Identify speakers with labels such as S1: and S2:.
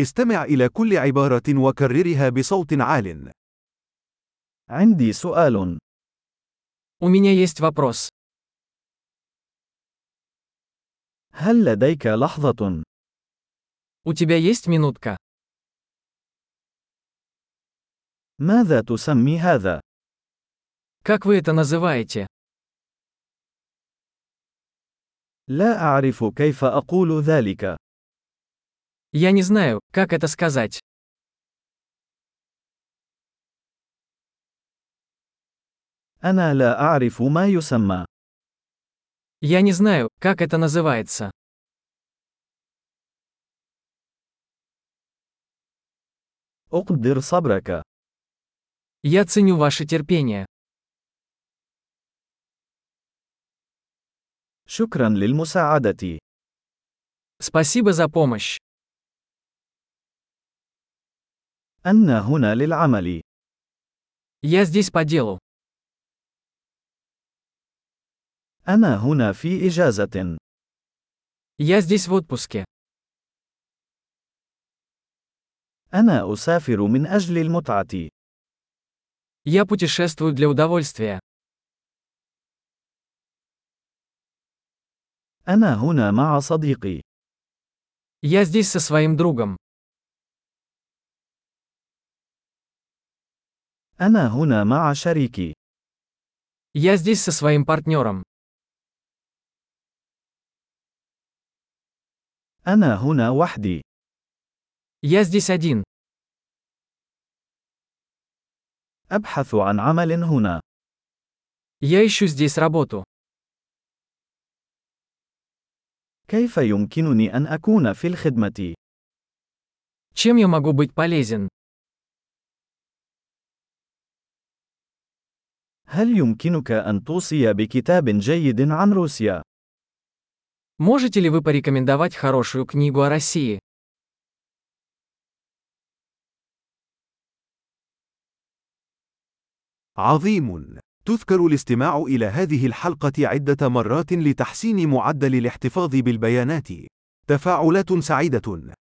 S1: استمع إلى كل عبارة وكررها بصوت عال.
S2: عندي سؤال.
S3: У меня есть вопрос.
S2: هل لديك لحظة؟
S3: У тебя есть минутка?
S2: ماذا تسمي هذا؟
S3: Как вы это называете?
S2: لا أعرف كيف أقول ذلك.
S3: Я не знаю, как это сказать.
S2: أنا لا أعرف ما يسمى.
S3: Я не знаю, как это называется.
S2: أقدر صبرك.
S3: Я ценю ваше терпение.
S2: شكرا للمساعدة.
S3: Спасибо за помощь.
S2: أنا هنا للعمل.
S3: Я здесь по делу.
S2: أنا هنا في إجازة.
S3: Я здесь в отпуске.
S2: أنا أسافر من أجل المتعة.
S3: Я путешествую для удовольствия.
S2: أنا هنا مع صديقي.
S3: Я здесь со своим другом.
S2: أنا هنا مع شريكي.
S3: Я здесь со своим партнером.
S2: أنا هنا وحدي.
S3: Я здесь один.
S2: أبحث عن عمل هنا.
S3: Я ищу здесь работу.
S2: كيف يمكنني أن أكون في الخدمة؟
S3: Чем я могу быть полезен?
S2: هل يمكنك أن توصي بكتاب جيد عن روسيا؟
S3: Можете ли вы порекомендовать хорошую книгу о России?
S1: عظيم. تذكر الاستماع إلى هذه الحلقة عدة مرات لتحسين معدل الاحتفاظ بالبيانات. تفاعلات سعيدة.